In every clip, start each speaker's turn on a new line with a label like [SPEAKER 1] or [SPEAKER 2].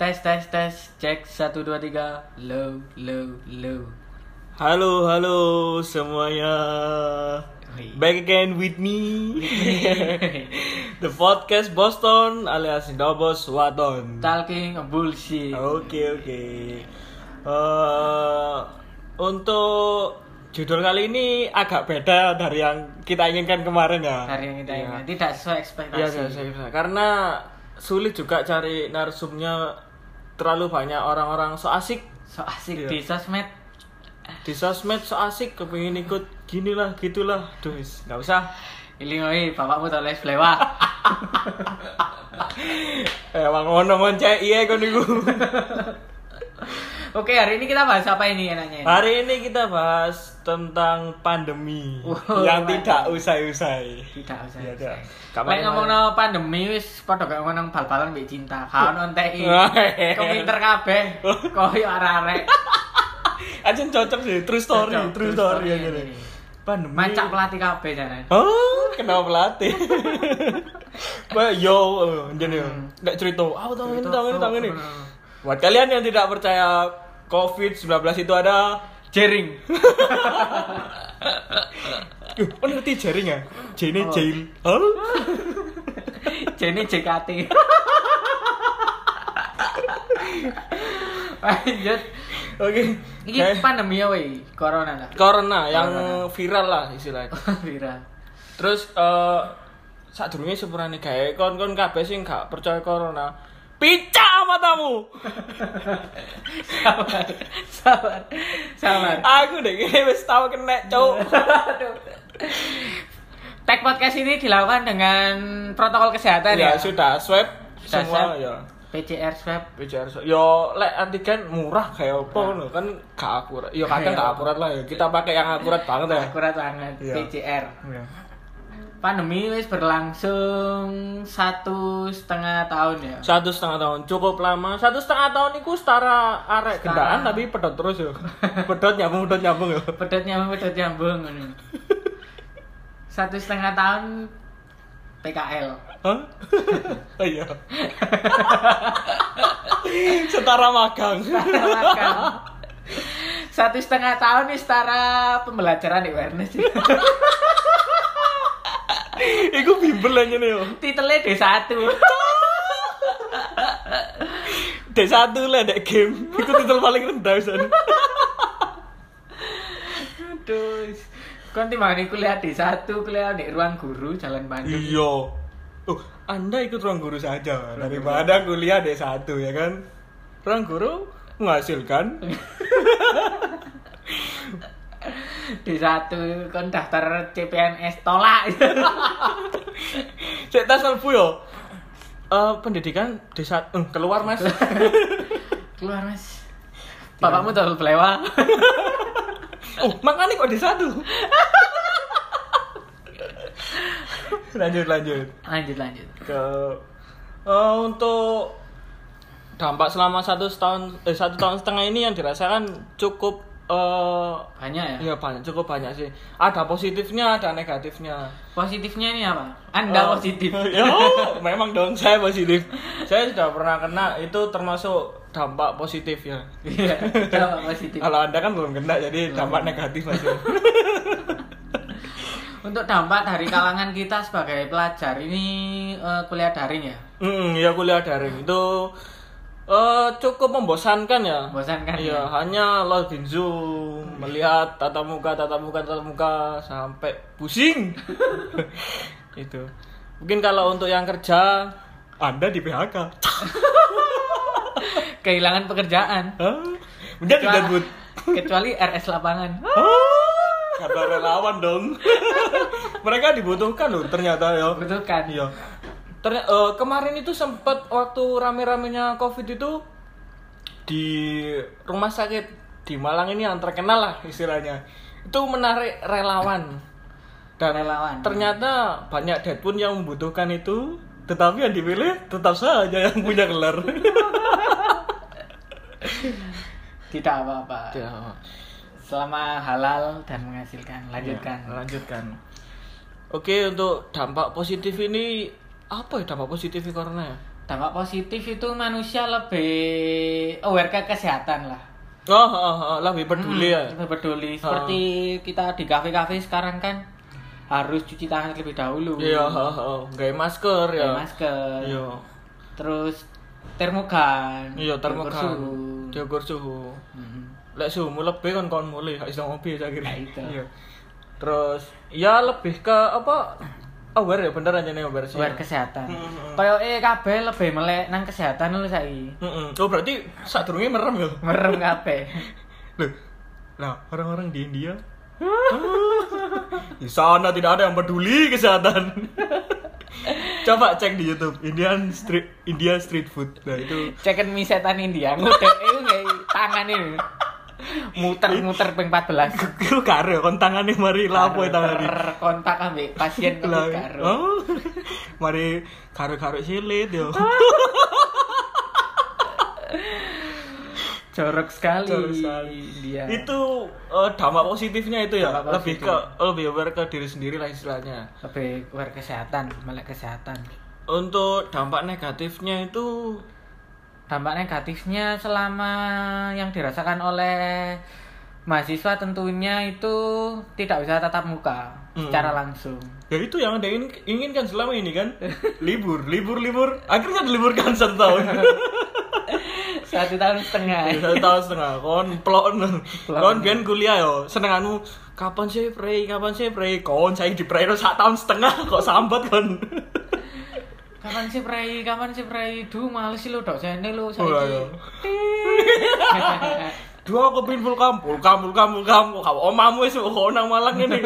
[SPEAKER 1] tes tes tes cek satu dua tiga low low low
[SPEAKER 2] Halo, halo semuanya.
[SPEAKER 1] Oi.
[SPEAKER 2] Back again with me. The podcast Boston alias Dobos Waton. Oke,
[SPEAKER 1] talking bullshit
[SPEAKER 2] Oh, oke. Eh, untuk judul kali ini agak beda dari yang kita inginkan kemarin ya.
[SPEAKER 1] hari yang kita
[SPEAKER 2] Iya.
[SPEAKER 1] ingat tidak sesuai ekspektasi
[SPEAKER 2] Iya, iya, iya, iya. Karena sulit juga cari narsumnya terlalu banyak orang-orang so asik
[SPEAKER 1] so asik
[SPEAKER 2] Iya.
[SPEAKER 1] di sosmed
[SPEAKER 2] di sosmed so asik kepengin ikut ginilah gitulah duh wis, nggak usah
[SPEAKER 1] ilingoi bapakmu tau les lewat
[SPEAKER 2] emang ngono Eh, ngoncek iya kon niku
[SPEAKER 1] oke hari ini kita bahas apa ini enaknya
[SPEAKER 2] hari ini kita bahas tentang pandemi
[SPEAKER 1] Wow,
[SPEAKER 2] yang
[SPEAKER 1] pandemi.
[SPEAKER 2] tidak usai-usai
[SPEAKER 1] tidak usah
[SPEAKER 2] Iya,
[SPEAKER 1] ya,
[SPEAKER 2] tidak. Kapan
[SPEAKER 1] Lek
[SPEAKER 2] kemarin?
[SPEAKER 1] ngomong pandemi wis padha gak ngomong bal-balan mbek cinta. Kaon onteki.
[SPEAKER 2] Oh, Wah.
[SPEAKER 1] Komputer kabeh
[SPEAKER 2] Oh.
[SPEAKER 1] koyo arek-arek.
[SPEAKER 2] aja cocok sih true story
[SPEAKER 1] Cocok,
[SPEAKER 2] true
[SPEAKER 1] true story
[SPEAKER 2] story yang
[SPEAKER 1] ini.
[SPEAKER 2] ini pandemi
[SPEAKER 1] Mancak pelatih kabeh jaran.
[SPEAKER 2] Oh, kenapa pelatih? Wah, yo, eh, jadi nggak cerita. Ah, tahun ini,
[SPEAKER 1] Hmm. Cerita, oh,
[SPEAKER 2] tahun ini, tahun ini.
[SPEAKER 1] oh.
[SPEAKER 2] Buat kalian yang tidak percaya COVID-19 itu ada
[SPEAKER 1] Jering.
[SPEAKER 2] Uh, oh ngerti jaring ya? Jane jail. Oh.
[SPEAKER 1] Jenny JKT. Lanjut.
[SPEAKER 2] Oke.
[SPEAKER 1] Ini
[SPEAKER 2] Eh,
[SPEAKER 1] pandemi ya wey, corona lah.
[SPEAKER 2] Corona yang viral lah istilahnya.
[SPEAKER 1] Viral.
[SPEAKER 2] Terus eh saat durunge sepurane gawe kon-kon kabeh sing gak percaya corona. Picak matamu.
[SPEAKER 1] Sabar. Sabar. Sabar.
[SPEAKER 2] Aku deh kene wis tau kena, Cuk.
[SPEAKER 1] Tag podcast ini dilakukan dengan protokol kesehatan ya.
[SPEAKER 2] ya, sudah swab
[SPEAKER 1] Sudah
[SPEAKER 2] semua
[SPEAKER 1] swab.
[SPEAKER 2] ya.
[SPEAKER 1] PCR swab.
[SPEAKER 2] PCR swab. Yo lek antigen murah kayak apa ngono kan gak akurat. Yo kadang gak akurat lah ya. Kita pakai yang akurat banget ya.
[SPEAKER 1] Akurat banget
[SPEAKER 2] Iya.
[SPEAKER 1] PCR.
[SPEAKER 2] Iya.
[SPEAKER 1] Pandemi wis berlangsung satu setengah tahun ya.
[SPEAKER 2] satu setengah tahun cukup lama satu setengah tahun itu setara arek gendaan tapi pedot terus yo pedot nyambung pedot nyambung yo
[SPEAKER 1] Pedot nyambung, pedot nyambung. ngono. Satu setengah tahun PKL.
[SPEAKER 2] Hah? oh iya setara magang
[SPEAKER 1] Makan. Satu setengah tahun nih setara pembelajaran di awareness.
[SPEAKER 2] iku bimbel aja nih yo
[SPEAKER 1] Titelnya D1.
[SPEAKER 2] D1 lah dek game itu titel paling rendah san
[SPEAKER 1] Aduh. Kan timbangane kuliah D1, kuliah di ruang guru Jalan Bandung.
[SPEAKER 2] iya oh anda ikut ruang guru saja daripada kuliah D1 ya kan ruang guru menghasilkan
[SPEAKER 1] D1 kan daftar CPNS tolak.
[SPEAKER 2] Cek tas selbu yo. Eh, pendidikan desa eh, keluar mas
[SPEAKER 1] Keluar, Mas. Bapakmu tol belewa.
[SPEAKER 2] oh makanya kok desa tuh lanjut lanjut
[SPEAKER 1] Lanjut, lanjut.
[SPEAKER 2] ke eh, untuk dampak selama satu setahun eh, satu tahun setengah ini yang dirasakan cukup eh
[SPEAKER 1] Banyak ya?
[SPEAKER 2] ya banyak cukup banyak sih ada positifnya ada negatifnya
[SPEAKER 1] Positifnya ini apa? Anda
[SPEAKER 2] Eh,
[SPEAKER 1] positif.
[SPEAKER 2] ya, memang dong saya positif saya sudah pernah kena itu termasuk dampak positif ya
[SPEAKER 1] Iya, dampak positif.
[SPEAKER 2] Kalau Anda kan belum kena jadi dampak negatif aja.
[SPEAKER 1] Untuk dampak dari kalangan kita sebagai pelajar ini eh, kuliah daring ya.
[SPEAKER 2] Hmm, ya kuliah daring itu eh, cukup membosankan ya.
[SPEAKER 1] Membosankan,
[SPEAKER 2] Iya,
[SPEAKER 1] ya.
[SPEAKER 2] hanya login Zoom, melihat tatap muka, tatap muka, tatap muka sampai pusing. itu. Mungkin kalau untuk yang kerja Anda di PHK.
[SPEAKER 1] Kehilangan pekerjaan.
[SPEAKER 2] Hah? Menjadi deadwood.
[SPEAKER 1] kecuali RS lapangan.
[SPEAKER 2] Oh. Karena relawan dong. Mereka dibutuhkan loh ternyata ya.
[SPEAKER 1] Betul kan?
[SPEAKER 2] Iya. Terny- eh, kemarin itu sempat waktu rame-ramenya COVID itu di rumah sakit di Malang ini yang terkenal lah istilahnya. Itu menarik relawan. Dan
[SPEAKER 1] Relawan.
[SPEAKER 2] ternyata banyak deadpool yang membutuhkan itu, tetapi yang dipilih tetap saja yang punya gelar.
[SPEAKER 1] Tidak apa-apa.
[SPEAKER 2] Ya,
[SPEAKER 1] Selama halal dan
[SPEAKER 2] Iya.
[SPEAKER 1] menghasilkan. Lanjutkan.
[SPEAKER 2] lanjutkan. Oke, untuk dampak positif ini apa ya dampak positif corona ya?
[SPEAKER 1] dampak positif itu manusia lebih aware ke kesehatan lah
[SPEAKER 2] Oh, oh, oh, lebih peduli ya.
[SPEAKER 1] lebih peduli seperti kita di kafe-kafe sekarang kan harus cuci tangan terlebih dahulu
[SPEAKER 2] Iya, oh, oh, nggak masker ya.
[SPEAKER 1] pakai masker
[SPEAKER 2] Iya,
[SPEAKER 1] terus termogan
[SPEAKER 2] iya termogan,
[SPEAKER 1] diukur suhu.
[SPEAKER 2] diukur suhu.
[SPEAKER 1] Mhm.
[SPEAKER 2] Lek suhumu lebih kan kon mulai, gak iso ngopi saya kira.
[SPEAKER 1] Nah, itu.
[SPEAKER 2] Iya. Terus, ya lebih ke apa? Aware ya, bener aja nih aware sih.
[SPEAKER 1] aware kesehatan
[SPEAKER 2] Mhm.
[SPEAKER 1] koyo eh kabeh lebih melek nang kesehatan lu saiki
[SPEAKER 2] Mm-mm. Oh berarti saat merem ya?
[SPEAKER 1] merem kabeh
[SPEAKER 2] Loh, nah orang-orang di India di sana tidak ada yang peduli kesehatan. Coba cek di YouTube Indian street India street food. Nah itu
[SPEAKER 1] Cekin mie setan India ngutip itu kayak tangan ini muter-muter ping 14
[SPEAKER 2] itu karo kon tangane mari lapo tangane.
[SPEAKER 1] kontak ambek pasien
[SPEAKER 2] Lah,
[SPEAKER 1] karo karo
[SPEAKER 2] Oh, mari karo-karo silit yo.
[SPEAKER 1] jorok sekali
[SPEAKER 2] Jorok sekali.
[SPEAKER 1] India
[SPEAKER 2] Itu eh, dampak positifnya itu ya,
[SPEAKER 1] Dampak
[SPEAKER 2] lebih ke lebih aware ke diri sendiri lah istilahnya.
[SPEAKER 1] lebih aware kesehatan melek kesehatan
[SPEAKER 2] Untuk dampak negatifnya itu
[SPEAKER 1] dampak negatifnya selama yang dirasakan oleh mahasiswa tentunya itu tidak bisa tatap muka secara langsung
[SPEAKER 2] Ya itu yang Anda ingin, inginkan selama ini kan Libur, libur, libur Akhirnya diliburkan satu tahun
[SPEAKER 1] satu tahun setengah
[SPEAKER 2] Satu tahun setengah Kon plon Kon biar kuliah yo Senenganmu Kapan sih pray, kapan sih pray Kon saya di pray satu tahun setengah Kok sambat kon
[SPEAKER 1] kapan sih prai kapan sih prai duh males sih lo dok jane lo
[SPEAKER 2] Wah,
[SPEAKER 1] saiki
[SPEAKER 2] yo. Dua aku pin vulkam Vulkam, vulkam, vulkam Kau omamu itu Kau nang malang ini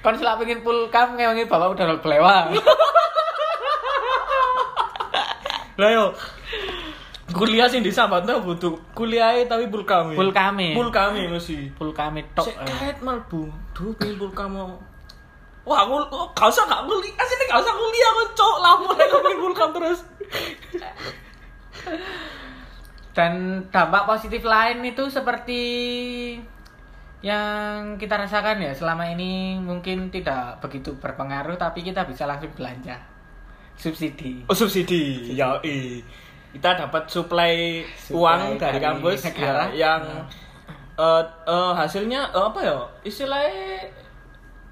[SPEAKER 1] Kon selak pengen full cam ngewangi bapak udah belewa.
[SPEAKER 2] Lah yo Kuliah sih disambat tuh butuh Kuliah tapi vulkam
[SPEAKER 1] Full kami.
[SPEAKER 2] Full kami mesti
[SPEAKER 1] Full kami tok.
[SPEAKER 2] Sik karet malbu. Duh, kumpul kamu. Wah, aku oh, gak usah gak kuliah. Asine gak usah kuliah aku cok lamun aku kumpul kamu terus.
[SPEAKER 1] Dan dampak positif lain itu seperti yang kita rasakan ya selama ini mungkin tidak begitu berpengaruh tapi kita bisa langsung belanja subsidi
[SPEAKER 2] Oh, subsidi. Ya, i. Kita dapat supply,
[SPEAKER 1] Supply
[SPEAKER 2] uang dari
[SPEAKER 1] dari
[SPEAKER 2] kampus
[SPEAKER 1] negara.
[SPEAKER 2] ya, yang eh, eh, hasilnya eh, apa ya? Istilahnya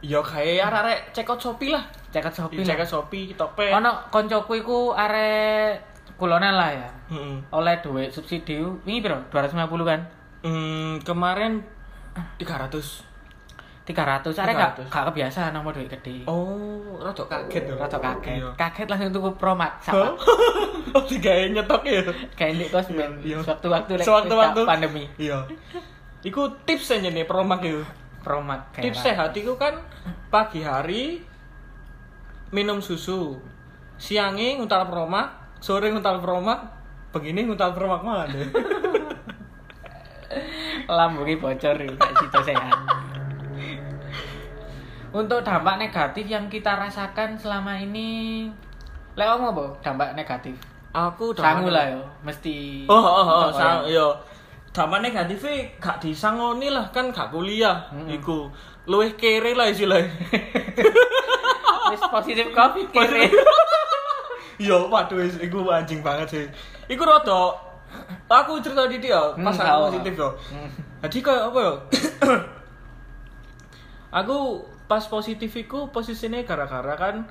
[SPEAKER 2] ya kayak arek-arek cekot Shopee lah.
[SPEAKER 1] ceket shopee
[SPEAKER 2] Cekot Iya, Shopee, Tope.
[SPEAKER 1] ono koncoku iku arek kulonan lah ya
[SPEAKER 2] Heeh.
[SPEAKER 1] oleh duit subsidi ini bro 250 kan
[SPEAKER 2] Hmm, kemarin 300.
[SPEAKER 1] 300 arek gak,
[SPEAKER 2] 300.
[SPEAKER 1] gak kebiasaan nomor duit gede
[SPEAKER 2] Oh, rada kaget ya.
[SPEAKER 1] rata kaget
[SPEAKER 2] Iya.
[SPEAKER 1] kaget langsung tuku promat
[SPEAKER 2] Hah?
[SPEAKER 1] sama
[SPEAKER 2] Oh, digawe nyetok ya.
[SPEAKER 1] kayak di kos
[SPEAKER 2] Iya, iya.
[SPEAKER 1] sewaktu-waktu lek
[SPEAKER 2] Sewaktu-waktu.
[SPEAKER 1] wis tak pandemi
[SPEAKER 2] Iya. Iku tips aja nih promak itu.
[SPEAKER 1] promat kayak
[SPEAKER 2] Tips sehat itu kan pagi hari minum susu, siangnya ngutal promak, sore ngutal promak, begini ngutal promak malah deh.
[SPEAKER 1] lambungi bocor iki, gak sida sehat untuk dampak negatif yang kita rasakan selama ini lek ngomong apa dampak negatif
[SPEAKER 2] Aku
[SPEAKER 1] sangu lah yo mesti
[SPEAKER 2] Oh, oh, oh,
[SPEAKER 1] Untuk
[SPEAKER 2] sang, yo. Sama negatifnya gak disangoni lah kan gak kuliah. Iku luwih kere lah istilahnya.
[SPEAKER 1] orang. wis positif covid kiri
[SPEAKER 2] Yo, Iya, waduh, is- iku anjing banget sih. Iku rada aku cerita di dia pas
[SPEAKER 1] Hmm,
[SPEAKER 2] aku
[SPEAKER 1] tahu.
[SPEAKER 2] positif yo. Jadi kayak apa yo? aku pas positif iku posisinya gara-gara kan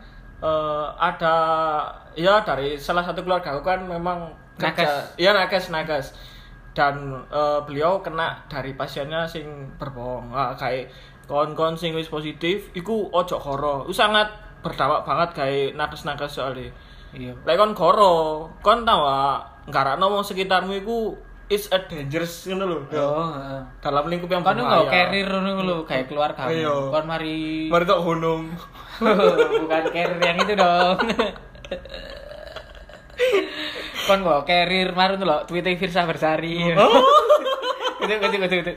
[SPEAKER 2] eh, ada ya dari salah satu keluarga aku kan memang kerja- Iya nakes nakes dan eh, beliau kena dari pasiennya sing berbohong Ah, kayak kon-kon sing wis positif iku ojo koro Iku sangat berdampak banget kayak nakes nakes soalnya
[SPEAKER 1] iya
[SPEAKER 2] Lek kon goro, kon tau gak ngarano wong sekitarmu iku is a dangerous ngono lho.
[SPEAKER 1] oh heeh.
[SPEAKER 2] Dalam lingkup yang
[SPEAKER 1] kon
[SPEAKER 2] berbahaya.
[SPEAKER 1] nggak carrier ngono lho kayak keluarga
[SPEAKER 2] Iya.
[SPEAKER 1] kon mari
[SPEAKER 2] Mari tok honong.
[SPEAKER 1] bukan carrier yang itu dong kon bawa carrier marun lo tweetnya e Firsa Bersari
[SPEAKER 2] Oh.
[SPEAKER 1] gitu gitu gitu gitu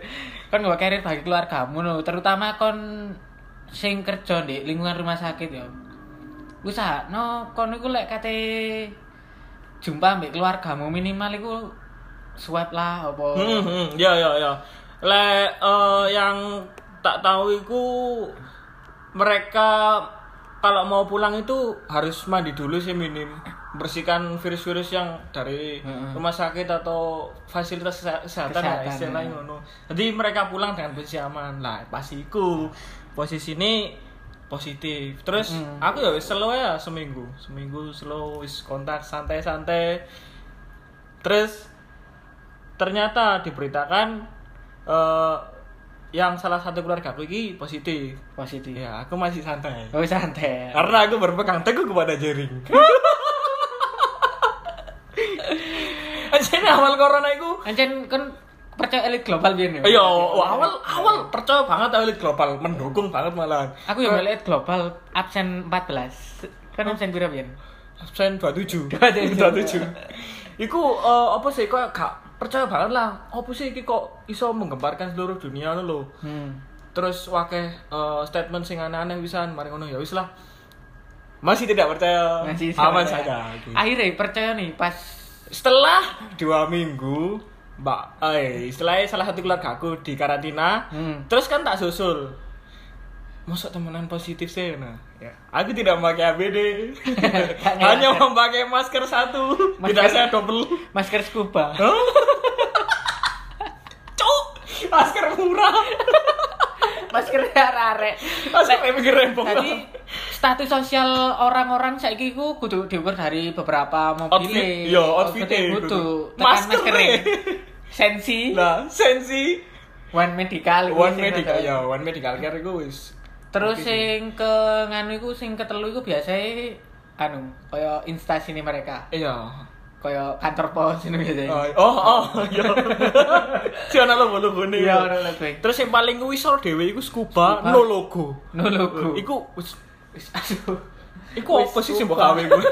[SPEAKER 1] kon bawa carrier bagi keluargamu no terutama kon sing kerja di lingkungan rumah sakit ya usah no kon iku lek kate jumpa ambek keluargamu minimal iku swab lah apa
[SPEAKER 2] Hmm, hmm, ya ya ya. Lek eh, yang tak tahu iku mereka kalau mau pulang itu harus mandi dulu sih minim bersihkan virus-virus yang dari
[SPEAKER 1] Heeh.
[SPEAKER 2] rumah sakit atau fasilitas kese- kesehatan, lah
[SPEAKER 1] Kesehatan,
[SPEAKER 2] istilahnya
[SPEAKER 1] heeh.
[SPEAKER 2] ngono. Jadi mereka pulang dengan posisi aman lah pasiku posisi ini positif terus
[SPEAKER 1] Heeh.
[SPEAKER 2] aku ya wis slow ya seminggu seminggu slow wis kontak santai-santai terus ternyata diberitakan eh, yang salah satu keluarga aku ini positif
[SPEAKER 1] positif
[SPEAKER 2] ya aku masih santai
[SPEAKER 1] oh santai
[SPEAKER 2] karena aku berpegang teguh kepada jaring. Anjir awal corona itu
[SPEAKER 1] Ancen kan percaya elit global biyen ya?
[SPEAKER 2] Ayo, Iya, awal awal percaya banget elit global mendukung banget malahan.
[SPEAKER 1] Aku ya elit global absen 14. Kan absen pira biyen?
[SPEAKER 2] Absen 27.
[SPEAKER 1] 27.
[SPEAKER 2] 27. Iku eh, apa sih kok gak percaya banget lah. Apa sih iki kok iso menggemparkan seluruh dunia ngono lho.
[SPEAKER 1] Hmm.
[SPEAKER 2] Terus wakeh eh, statement sing aneh-aneh wisan mari ngono ya wis lah. Masih tidak percaya.
[SPEAKER 1] Masih
[SPEAKER 2] aman
[SPEAKER 1] santai.
[SPEAKER 2] saja. Gitu.
[SPEAKER 1] Akhirnya percaya nih pas
[SPEAKER 2] setelah dua minggu mbak eh setelah salah satu keluarga aku di karantina
[SPEAKER 1] Hmm.
[SPEAKER 2] terus kan tak susul masuk temenan positif sih nah ya. aku tidak memakai APD hanya memakai masker satu
[SPEAKER 1] Masker-
[SPEAKER 2] tidak saya double
[SPEAKER 1] masker scuba.
[SPEAKER 2] cuk masker murah
[SPEAKER 1] masker arek-arek.
[SPEAKER 2] masker mikir rembong
[SPEAKER 1] Tadi status sosial orang-orang saiki ku kudu diukur dari beberapa mobil.
[SPEAKER 2] Outfit- yo, outfitnya
[SPEAKER 1] kudu
[SPEAKER 2] kudu.
[SPEAKER 1] tekan
[SPEAKER 2] Maskernya.
[SPEAKER 1] masker sensi
[SPEAKER 2] nah sensi
[SPEAKER 1] one medical
[SPEAKER 2] one
[SPEAKER 1] sing
[SPEAKER 2] medical
[SPEAKER 1] rata-
[SPEAKER 2] ya one medical care itu wis
[SPEAKER 1] Terus
[SPEAKER 2] Oke,
[SPEAKER 1] sing ke nganu iku sing ketelu iku biasanya anu kaya instasi ini mereka.
[SPEAKER 2] iya
[SPEAKER 1] Kaya kantor pos ini biasanya.
[SPEAKER 2] Oh, oh, oh, iya. Si ana logo logone.
[SPEAKER 1] Iya, ana logoe.
[SPEAKER 2] Terus yang paling kuwi sor dhewe iku scuba,
[SPEAKER 1] Scuba.
[SPEAKER 2] no logo.
[SPEAKER 1] No logo.
[SPEAKER 2] Iku wis
[SPEAKER 1] Wis, aduh.
[SPEAKER 2] iku
[SPEAKER 1] Wis
[SPEAKER 2] apa sih sing mbok
[SPEAKER 1] scuba.
[SPEAKER 2] gawe kuwi?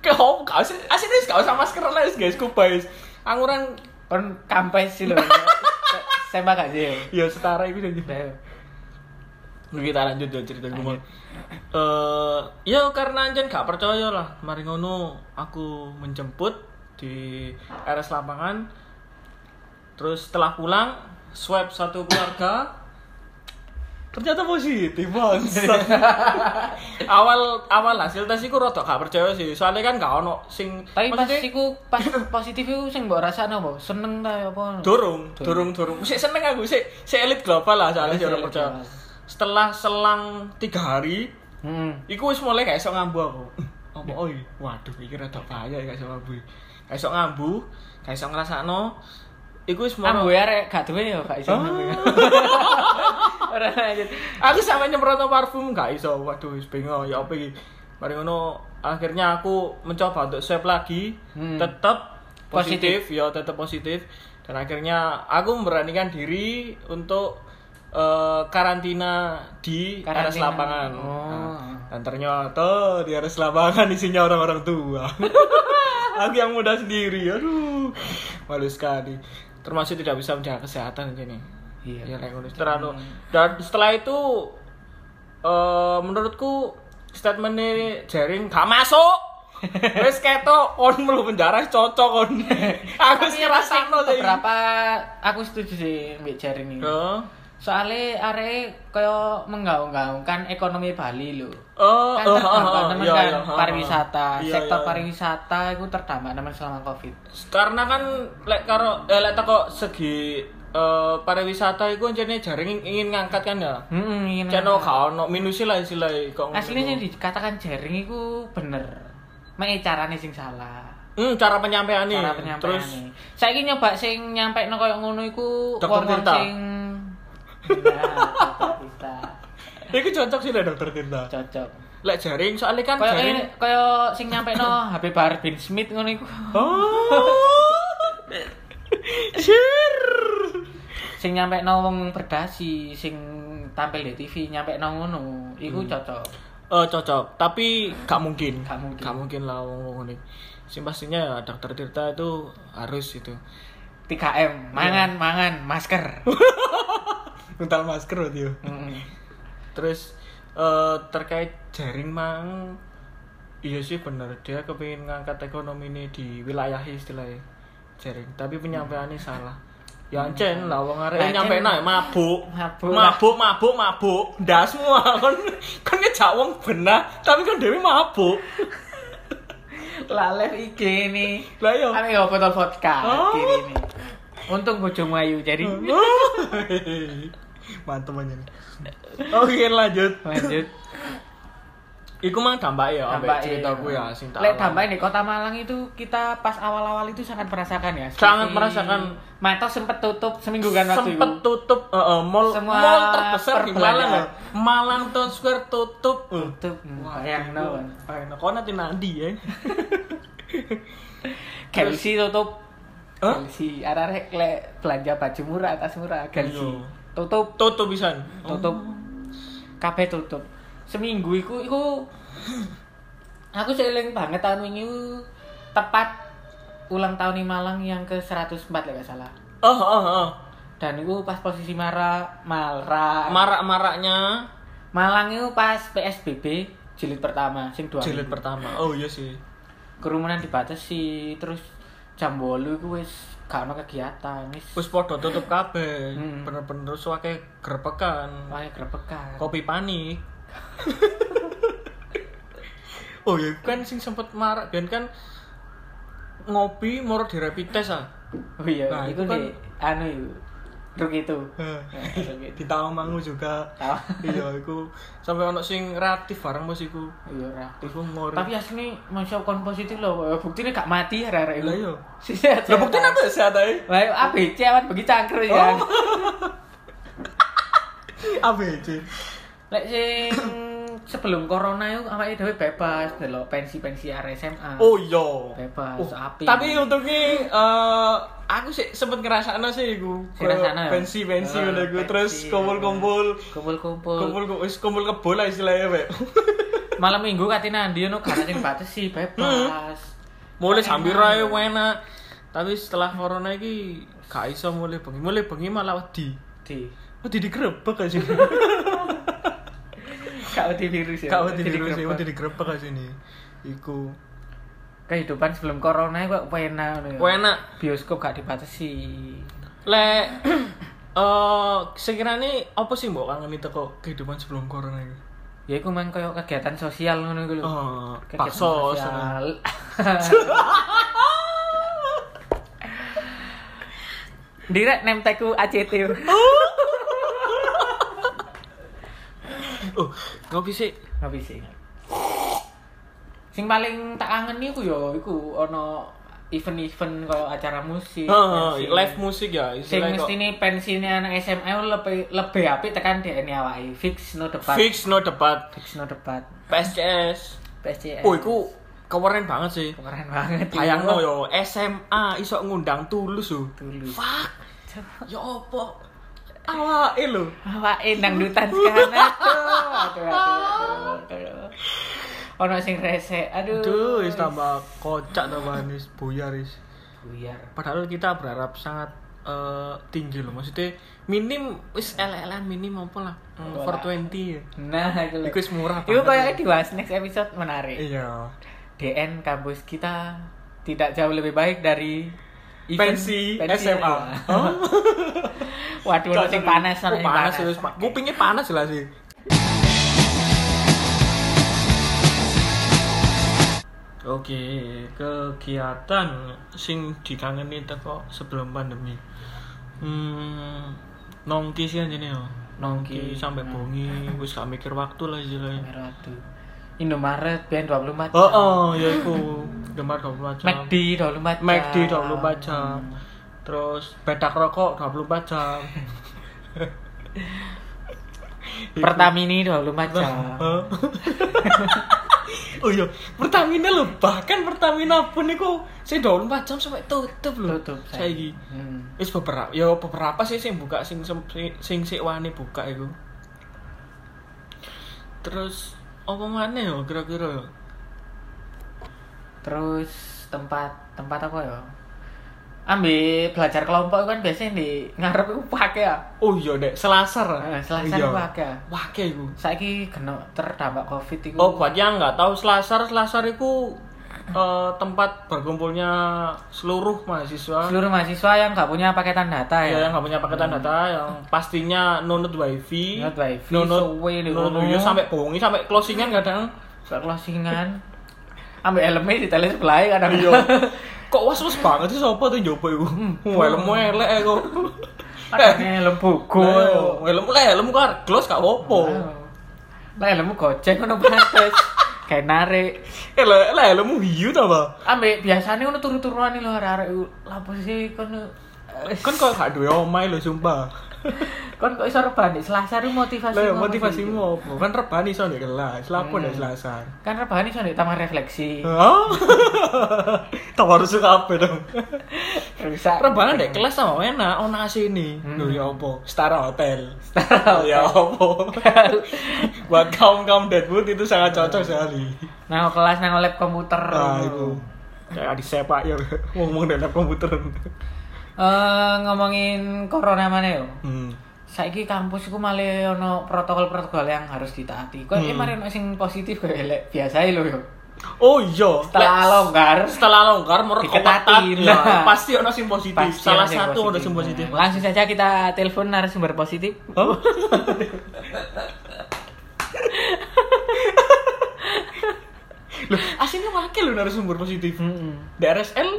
[SPEAKER 2] Kayak opo gak usah asine wis gak usah masker lah wis guys scuba wis. Anguran
[SPEAKER 1] Kon kampes sih lho. Sembak gak sih.
[SPEAKER 2] ya setara iku jadi.
[SPEAKER 1] Ayo.
[SPEAKER 2] Kita lanjut ya cerita gue.
[SPEAKER 1] Lanjut.
[SPEAKER 2] Eh, ya karena anjen gak percaya lah. Mari ngono aku menjemput di RS lapangan. Terus setelah pulang swab satu keluarga ternyata positif bangsat. awal awal hasil tes iku rada gak percaya sih. Soalnya kan gak ono sing
[SPEAKER 1] Tapi pas
[SPEAKER 2] maksudnya-
[SPEAKER 1] iku pas positif iku sing mbok rasakno apa? Seneng ta apa?
[SPEAKER 2] Dorong, dorong, dorong. Sik seneng aku, sik sik elit global lah
[SPEAKER 1] Sik
[SPEAKER 2] soalnya sik ora
[SPEAKER 1] elit
[SPEAKER 2] percaya.
[SPEAKER 1] global.
[SPEAKER 2] Setelah selang tiga hari,
[SPEAKER 1] Hmm.
[SPEAKER 2] iku wis mulai gak iso ngambu aku. Apa oi? Waduh, iki rada bahaya gak iso ngambu. Gak iso ngambu, gak iso ngrasakno. Iku wis
[SPEAKER 1] Ah, gue
[SPEAKER 2] mulai
[SPEAKER 1] arek gak duwe ya gak iso.
[SPEAKER 2] Ah.
[SPEAKER 1] Ora lanjut.
[SPEAKER 2] aku sampe nyemprot parfum gak iso. Waduh, wis bingung ya apa iki. Mari ngono akhirnya aku mencoba untuk swab lagi,
[SPEAKER 1] Hmm.
[SPEAKER 2] tetap
[SPEAKER 1] Positif.
[SPEAKER 2] positif, ya tetap positif dan akhirnya aku memberanikan diri untuk eh, karantina di RS
[SPEAKER 1] Karantina.
[SPEAKER 2] lapangan.
[SPEAKER 1] Oh.
[SPEAKER 2] Nah, dan ternyata di RS lapangan isinya orang-orang tua. aku yang muda sendiri, aduh, malu sekali. Termasuk tidak bisa menjaga kesehatan ini.
[SPEAKER 1] Iya.
[SPEAKER 2] Ya, kayak ngono. terlalu. Dan setelah itu, eh, menurutku statement ini jaring gak masuk. Wes ketok kon melu penjara cocok kon. Aku
[SPEAKER 1] Tapi
[SPEAKER 2] sih ngrasakno sih.
[SPEAKER 1] Beberapa aku setuju sih mbek jaring ini.
[SPEAKER 2] Heeh.
[SPEAKER 1] Soale arek kaya menggaung-gaungkan ekonomi Bali lho.
[SPEAKER 2] Oh,
[SPEAKER 1] Kan
[SPEAKER 2] oh,
[SPEAKER 1] terdampak
[SPEAKER 2] oh,
[SPEAKER 1] temen
[SPEAKER 2] iya,
[SPEAKER 1] kan
[SPEAKER 2] iya, oh,
[SPEAKER 1] pariwisata,
[SPEAKER 2] iya,
[SPEAKER 1] sektor
[SPEAKER 2] iya.
[SPEAKER 1] pariwisata itu terdampak teman selama Covid.
[SPEAKER 2] Karena kan lek karo eh, lek teko segi eh, pariwisata iku jane jaring ingin ngangkat kan ya.
[SPEAKER 1] Heeh, ingin
[SPEAKER 2] Ceno gak ono minusi lah istilahnya kok. ngono.
[SPEAKER 1] Aslinya yang dikatakan jaring itu bener. Mengi carane sing salah.
[SPEAKER 2] Hmm, cara penyampaiannya.
[SPEAKER 1] Cara penyampaian.
[SPEAKER 2] Terus
[SPEAKER 1] saiki nyoba sing nyampaikno koyo ngono iku
[SPEAKER 2] Dr.
[SPEAKER 1] wong-wong
[SPEAKER 2] Tirta.
[SPEAKER 1] sing Nah, kita
[SPEAKER 2] iku cocok sih lah dokter Tirta.
[SPEAKER 1] cocok.
[SPEAKER 2] Lek jaring soalnya kan
[SPEAKER 1] Koyo
[SPEAKER 2] jaring.
[SPEAKER 1] koyo sing nyampaikno HP Bahar bin Smith ngono iku.
[SPEAKER 2] Oh. Sure.
[SPEAKER 1] Sing nyampaikno wong berdasi, sing tampil di TV nyampaikno ngono, iku cocok.
[SPEAKER 2] Eh cocok, tapi gak mungkin.
[SPEAKER 1] Gak mungkin.
[SPEAKER 2] Gak mungkin lah wong wong ini. Sing pastinya ya dokter Tirta itu harus itu.
[SPEAKER 1] 3M, mangan,
[SPEAKER 2] Iya.
[SPEAKER 1] mangan, masker.
[SPEAKER 2] Nuntal masker loh dia.
[SPEAKER 1] Mm.
[SPEAKER 2] Terus eh terkait jaring mang Iya sih bener, dia kepingin ngangkat ekonomi ini di wilayah istilahnya jaring Tapi penyampaiannya salah Ya ancen lah wong arek
[SPEAKER 1] Hmm. Lah, ancen-
[SPEAKER 2] nyampe naik mabuk.
[SPEAKER 1] Mabuk.
[SPEAKER 2] Mabuk, mabuk, mabuk. Ndas semua kon kon ngejak wong benah, tapi kon dhewe mabuk.
[SPEAKER 1] Lalep IG nih.
[SPEAKER 2] Lah iya. yo.
[SPEAKER 1] Kami nggak botol vodka
[SPEAKER 2] Oh. Hmm.
[SPEAKER 1] kiri ini. Untung bojomu ayu jadi
[SPEAKER 2] Mantep aja. Oke, lanjut.
[SPEAKER 1] lanjut.
[SPEAKER 2] Iku mang dampak ya, ambek
[SPEAKER 1] Dampaknya-
[SPEAKER 2] ceritaku ya sing tak
[SPEAKER 1] iya. Lek
[SPEAKER 2] alami.
[SPEAKER 1] dampaknya di Kota Malang itu kita pas awal-awal itu sangat merasakan ya.
[SPEAKER 2] Sangat
[SPEAKER 1] Seperti-
[SPEAKER 2] merasakan.
[SPEAKER 1] Mata sempat tutup seminggu kan waktu
[SPEAKER 2] sempet
[SPEAKER 1] itu.
[SPEAKER 2] tutup eh, eh, mall
[SPEAKER 1] Semua
[SPEAKER 2] mall terbesar di Malang
[SPEAKER 1] perbelanjaan.
[SPEAKER 2] ya. Malang Town Square tutup
[SPEAKER 1] Tutup. Yang no.
[SPEAKER 2] enak kau nanti nanti ya
[SPEAKER 1] Galaxy tutup.
[SPEAKER 2] Hah?
[SPEAKER 1] Galaxy arek-arek lek belanja baju murah atas murah Galaxy.
[SPEAKER 2] Iya.
[SPEAKER 1] Tutup.
[SPEAKER 2] tutup pisan
[SPEAKER 1] tutup
[SPEAKER 2] Oh.
[SPEAKER 1] kabeh tutup seminggu iku iku aku seling banget tahun wingi ku tepat ulang tahun di Malang yang ke 104 lah gak salah
[SPEAKER 2] oh oh oh
[SPEAKER 1] dan itu pas posisi mara Malra
[SPEAKER 2] marak maraknya
[SPEAKER 1] Malang itu pas PSBB jilid pertama sing dua
[SPEAKER 2] jilid
[SPEAKER 1] minggu.
[SPEAKER 2] pertama oh iya sih
[SPEAKER 1] kerumunan dibatasi terus jam bolu itu wis gak ono kegiatan wis
[SPEAKER 2] wis podo tutup kabeh
[SPEAKER 1] Hmm.
[SPEAKER 2] bener-bener suake gerbekan
[SPEAKER 1] wae grebekan
[SPEAKER 2] kopi panik oh iya kan sing sempet marak biyen kan ngopi moro di rapid test ah
[SPEAKER 1] oh iya
[SPEAKER 2] Nah,
[SPEAKER 1] itu
[SPEAKER 2] itu kan-
[SPEAKER 1] di anu itu truk itu Nah, truk itu.
[SPEAKER 2] di Tawangmangu juga
[SPEAKER 1] Tahu.
[SPEAKER 2] iya iku sampai ono sing reaktif bareng bos iku
[SPEAKER 1] iya ora
[SPEAKER 2] iku ngori
[SPEAKER 1] Tapi asli masya Allah kon positif loh. Buktinya gak mati ya rara itu.
[SPEAKER 2] Lah, iya.
[SPEAKER 1] Si sehat.
[SPEAKER 2] lah bukti nanti sehat ae
[SPEAKER 1] Lah iya, ABC awan bagi cangker
[SPEAKER 2] Oh.
[SPEAKER 1] ya.
[SPEAKER 2] ABC
[SPEAKER 1] Lek sing sebelum corona itu awake dhewe bebas delok pensi-pensi area SMA.
[SPEAKER 2] oh iya
[SPEAKER 1] Bebas
[SPEAKER 2] Oh,
[SPEAKER 1] api.
[SPEAKER 2] tapi untungnya eh aku sih sempet ngerasakno sih iku
[SPEAKER 1] Ngerasakno ya?
[SPEAKER 2] pensi Oh, pensi
[SPEAKER 1] Eh,
[SPEAKER 2] udah gue terus
[SPEAKER 1] pensi,
[SPEAKER 2] kumpul-kumpul
[SPEAKER 1] kumpul-kumpul.
[SPEAKER 2] kumpul wis kumpul kebol lah istilahnya Pak.
[SPEAKER 1] Malam Minggu katina ndi ono gak sing batasi bebas.
[SPEAKER 2] mulai sambil rae enak tapi setelah corona iki gak iso mulai bengi mulai bengi malah wedi
[SPEAKER 1] Di
[SPEAKER 2] wedi digrebek gak sih
[SPEAKER 1] gak wedi virus ya.
[SPEAKER 2] Kak wedi
[SPEAKER 1] Jadi
[SPEAKER 2] virus ya,
[SPEAKER 1] grebek.
[SPEAKER 2] wedi digrebek gak sini. Iku.
[SPEAKER 1] Kehidupan sebelum corona kok enak ngono ya.
[SPEAKER 2] Enak.
[SPEAKER 1] Bioskop gak dibatasi.
[SPEAKER 2] Lek eh sekiranya apa sih mbok kangen itu kok kehidupan sebelum corona ini?
[SPEAKER 1] Ya iku mang koyo kegiatan sosial ngono iku lho.
[SPEAKER 2] Oh,
[SPEAKER 1] Kegiatan
[SPEAKER 2] bakso. seneng.
[SPEAKER 1] sosial. Direk nem teku ACT.
[SPEAKER 2] Oh, ngopi sih.
[SPEAKER 1] Ngopi sih. Sing paling tak kangen iku ya iku ono event-event koyo acara musik.
[SPEAKER 2] Oh,
[SPEAKER 1] pensi.
[SPEAKER 2] live musik ya
[SPEAKER 1] sing
[SPEAKER 2] istilahnya kok.
[SPEAKER 1] mestine pensine anak SMA ku lebih lebih apik tekan dhekne awake. Fix no debat.
[SPEAKER 2] Fix no debat.
[SPEAKER 1] Fix no debat.
[SPEAKER 2] PSCS.
[SPEAKER 1] PSCS.
[SPEAKER 2] Oh, iku ya. keren banget sih.
[SPEAKER 1] keren banget.
[SPEAKER 2] Bayangno yo SMA iso ngundang tulus yo.
[SPEAKER 1] dulu.
[SPEAKER 2] Fuck. Ya opo? Awake lho.
[SPEAKER 1] Awake dangdutan sekarang aduh, aduh, aduh, aduh. Ono sing resek, aduh.
[SPEAKER 2] Aduh, is tambah kocak tambah is buyar is.
[SPEAKER 1] Buyar.
[SPEAKER 2] padahal kita berharap sangat eh, tinggi loh maksudnya minim wis LLN minim apa lah mm,
[SPEAKER 1] Ora.
[SPEAKER 2] 420 ya
[SPEAKER 1] Nah, itu lho.
[SPEAKER 2] Iku wis murah
[SPEAKER 1] Iku
[SPEAKER 2] banget.
[SPEAKER 1] kayaknya di was next episode menarik.
[SPEAKER 2] iya
[SPEAKER 1] DN kampus kita tidak jauh lebih baik dari event-
[SPEAKER 2] pensi,
[SPEAKER 1] pensi
[SPEAKER 2] SMA
[SPEAKER 1] ya. Waduh, ono sing panas, ono
[SPEAKER 2] Oh,
[SPEAKER 1] sing
[SPEAKER 2] panas
[SPEAKER 1] panas.
[SPEAKER 2] terus Pak. kupingnya panas lah sih Oke, kegiatan sing dikangeni teko sebelum pandemi. Hmm, nongki sih anjene yo. Nongki
[SPEAKER 1] Nongki.
[SPEAKER 2] sampai bongi, wis gak mikir waktu lah istilahnya.
[SPEAKER 1] Merah, aduh. Indomaret ben 24 jam.
[SPEAKER 2] Oh, oh, ya iku. Gemar 24 jam.
[SPEAKER 1] McD 24 jam.
[SPEAKER 2] McD 24 jam. Terus bedak rokok 24 jam.
[SPEAKER 1] Pertamini 24 jam.
[SPEAKER 2] Hah? oh iya, Pertamina lho, bahkan Pertamina pun iku sing 24 jam sampai tutup lho.
[SPEAKER 1] Tutup
[SPEAKER 2] saiki.
[SPEAKER 1] Hmm.
[SPEAKER 2] Wis beberapa, ya beberapa sih sing buka sing sem- sing sing sik wani buka iku. Terus apa maneh yo kira-kira yo?
[SPEAKER 1] Terus tempat tempat apa ya? Ambil belajar kelompok kan biasanya di ngarep itu pakai ya.
[SPEAKER 2] Oh iya, Dek, selasar.
[SPEAKER 1] Eh, Selasa
[SPEAKER 2] Iya.
[SPEAKER 1] itu pakai.
[SPEAKER 2] Wake iku.
[SPEAKER 1] Saiki kena terdampak Covid itu.
[SPEAKER 2] Oh, buat yang nggak tahu selasar, selasar itu eh, tempat berkumpulnya seluruh mahasiswa
[SPEAKER 1] Seluruh mahasiswa yang nggak punya paketan data ya.
[SPEAKER 2] ya, yang nggak punya paketan data yang pastinya nonut wifi
[SPEAKER 1] Nonut wifi,
[SPEAKER 2] nonut
[SPEAKER 1] suwe di
[SPEAKER 2] nonut
[SPEAKER 1] kono.
[SPEAKER 2] wifi sampai bohongi sampai closingan kadang
[SPEAKER 1] Nggak closingan. Ambil elemen di teles belai kadang.
[SPEAKER 2] iya kok was was banget sih sopo tuh nyoba itu helm elek eh, kok
[SPEAKER 1] Kadang helm buku.
[SPEAKER 2] Nah, helm lah helm kok close gak apa
[SPEAKER 1] Lah helmmu gojek ngono pantes. Kayak narik.
[SPEAKER 2] eh lah lah helmmu hiu tau apa
[SPEAKER 1] Ambek biasanya ngono turu-turuan lho arek-arek lapo sih kono
[SPEAKER 2] kan kok gak duwe omai lho sumpah
[SPEAKER 1] kon kok iso rebahan Dik? Selasa itu motivasi
[SPEAKER 2] lah
[SPEAKER 1] apa, Dik?
[SPEAKER 2] motivasimu apa kan reban iso nek kelas lapo nek
[SPEAKER 1] Hmm.
[SPEAKER 2] selasan
[SPEAKER 1] Kan rebahan iso nek taman refleksi.
[SPEAKER 2] Hah? tak harus suka apa dong
[SPEAKER 1] Rusak.
[SPEAKER 2] rebahan dek kelas sama enak ono asini
[SPEAKER 1] Hmm.
[SPEAKER 2] lho ya apa setara hotel
[SPEAKER 1] Setara
[SPEAKER 2] ya apa buat kaum kaum deadwood itu sangat cocok sekali
[SPEAKER 1] Nang kelas nang lab komputer.
[SPEAKER 2] nah itu kayak disepak ya ngomong dari laptop komputer
[SPEAKER 1] Eh, ngomongin corona mana yo?
[SPEAKER 2] hmm.
[SPEAKER 1] Saiki kampus iku malah ono protokol-protokol yang harus ditaati. Kok ini
[SPEAKER 2] Hmm.
[SPEAKER 1] mari ono sing positif kok elek biasa lho yo.
[SPEAKER 2] oh iya
[SPEAKER 1] Setelah longgar
[SPEAKER 2] setelah longgar mereka
[SPEAKER 1] Diketatin.
[SPEAKER 2] ketat, ya. pasti ono sing positif
[SPEAKER 1] pasti
[SPEAKER 2] salah
[SPEAKER 1] ada yang
[SPEAKER 2] satu ono sing positif
[SPEAKER 1] Nah, Langsung saja kita telepon narasumber positif.
[SPEAKER 2] Hah? Loh, aslinya wakil lho narasumber positif.
[SPEAKER 1] Heeh.
[SPEAKER 2] DRSL?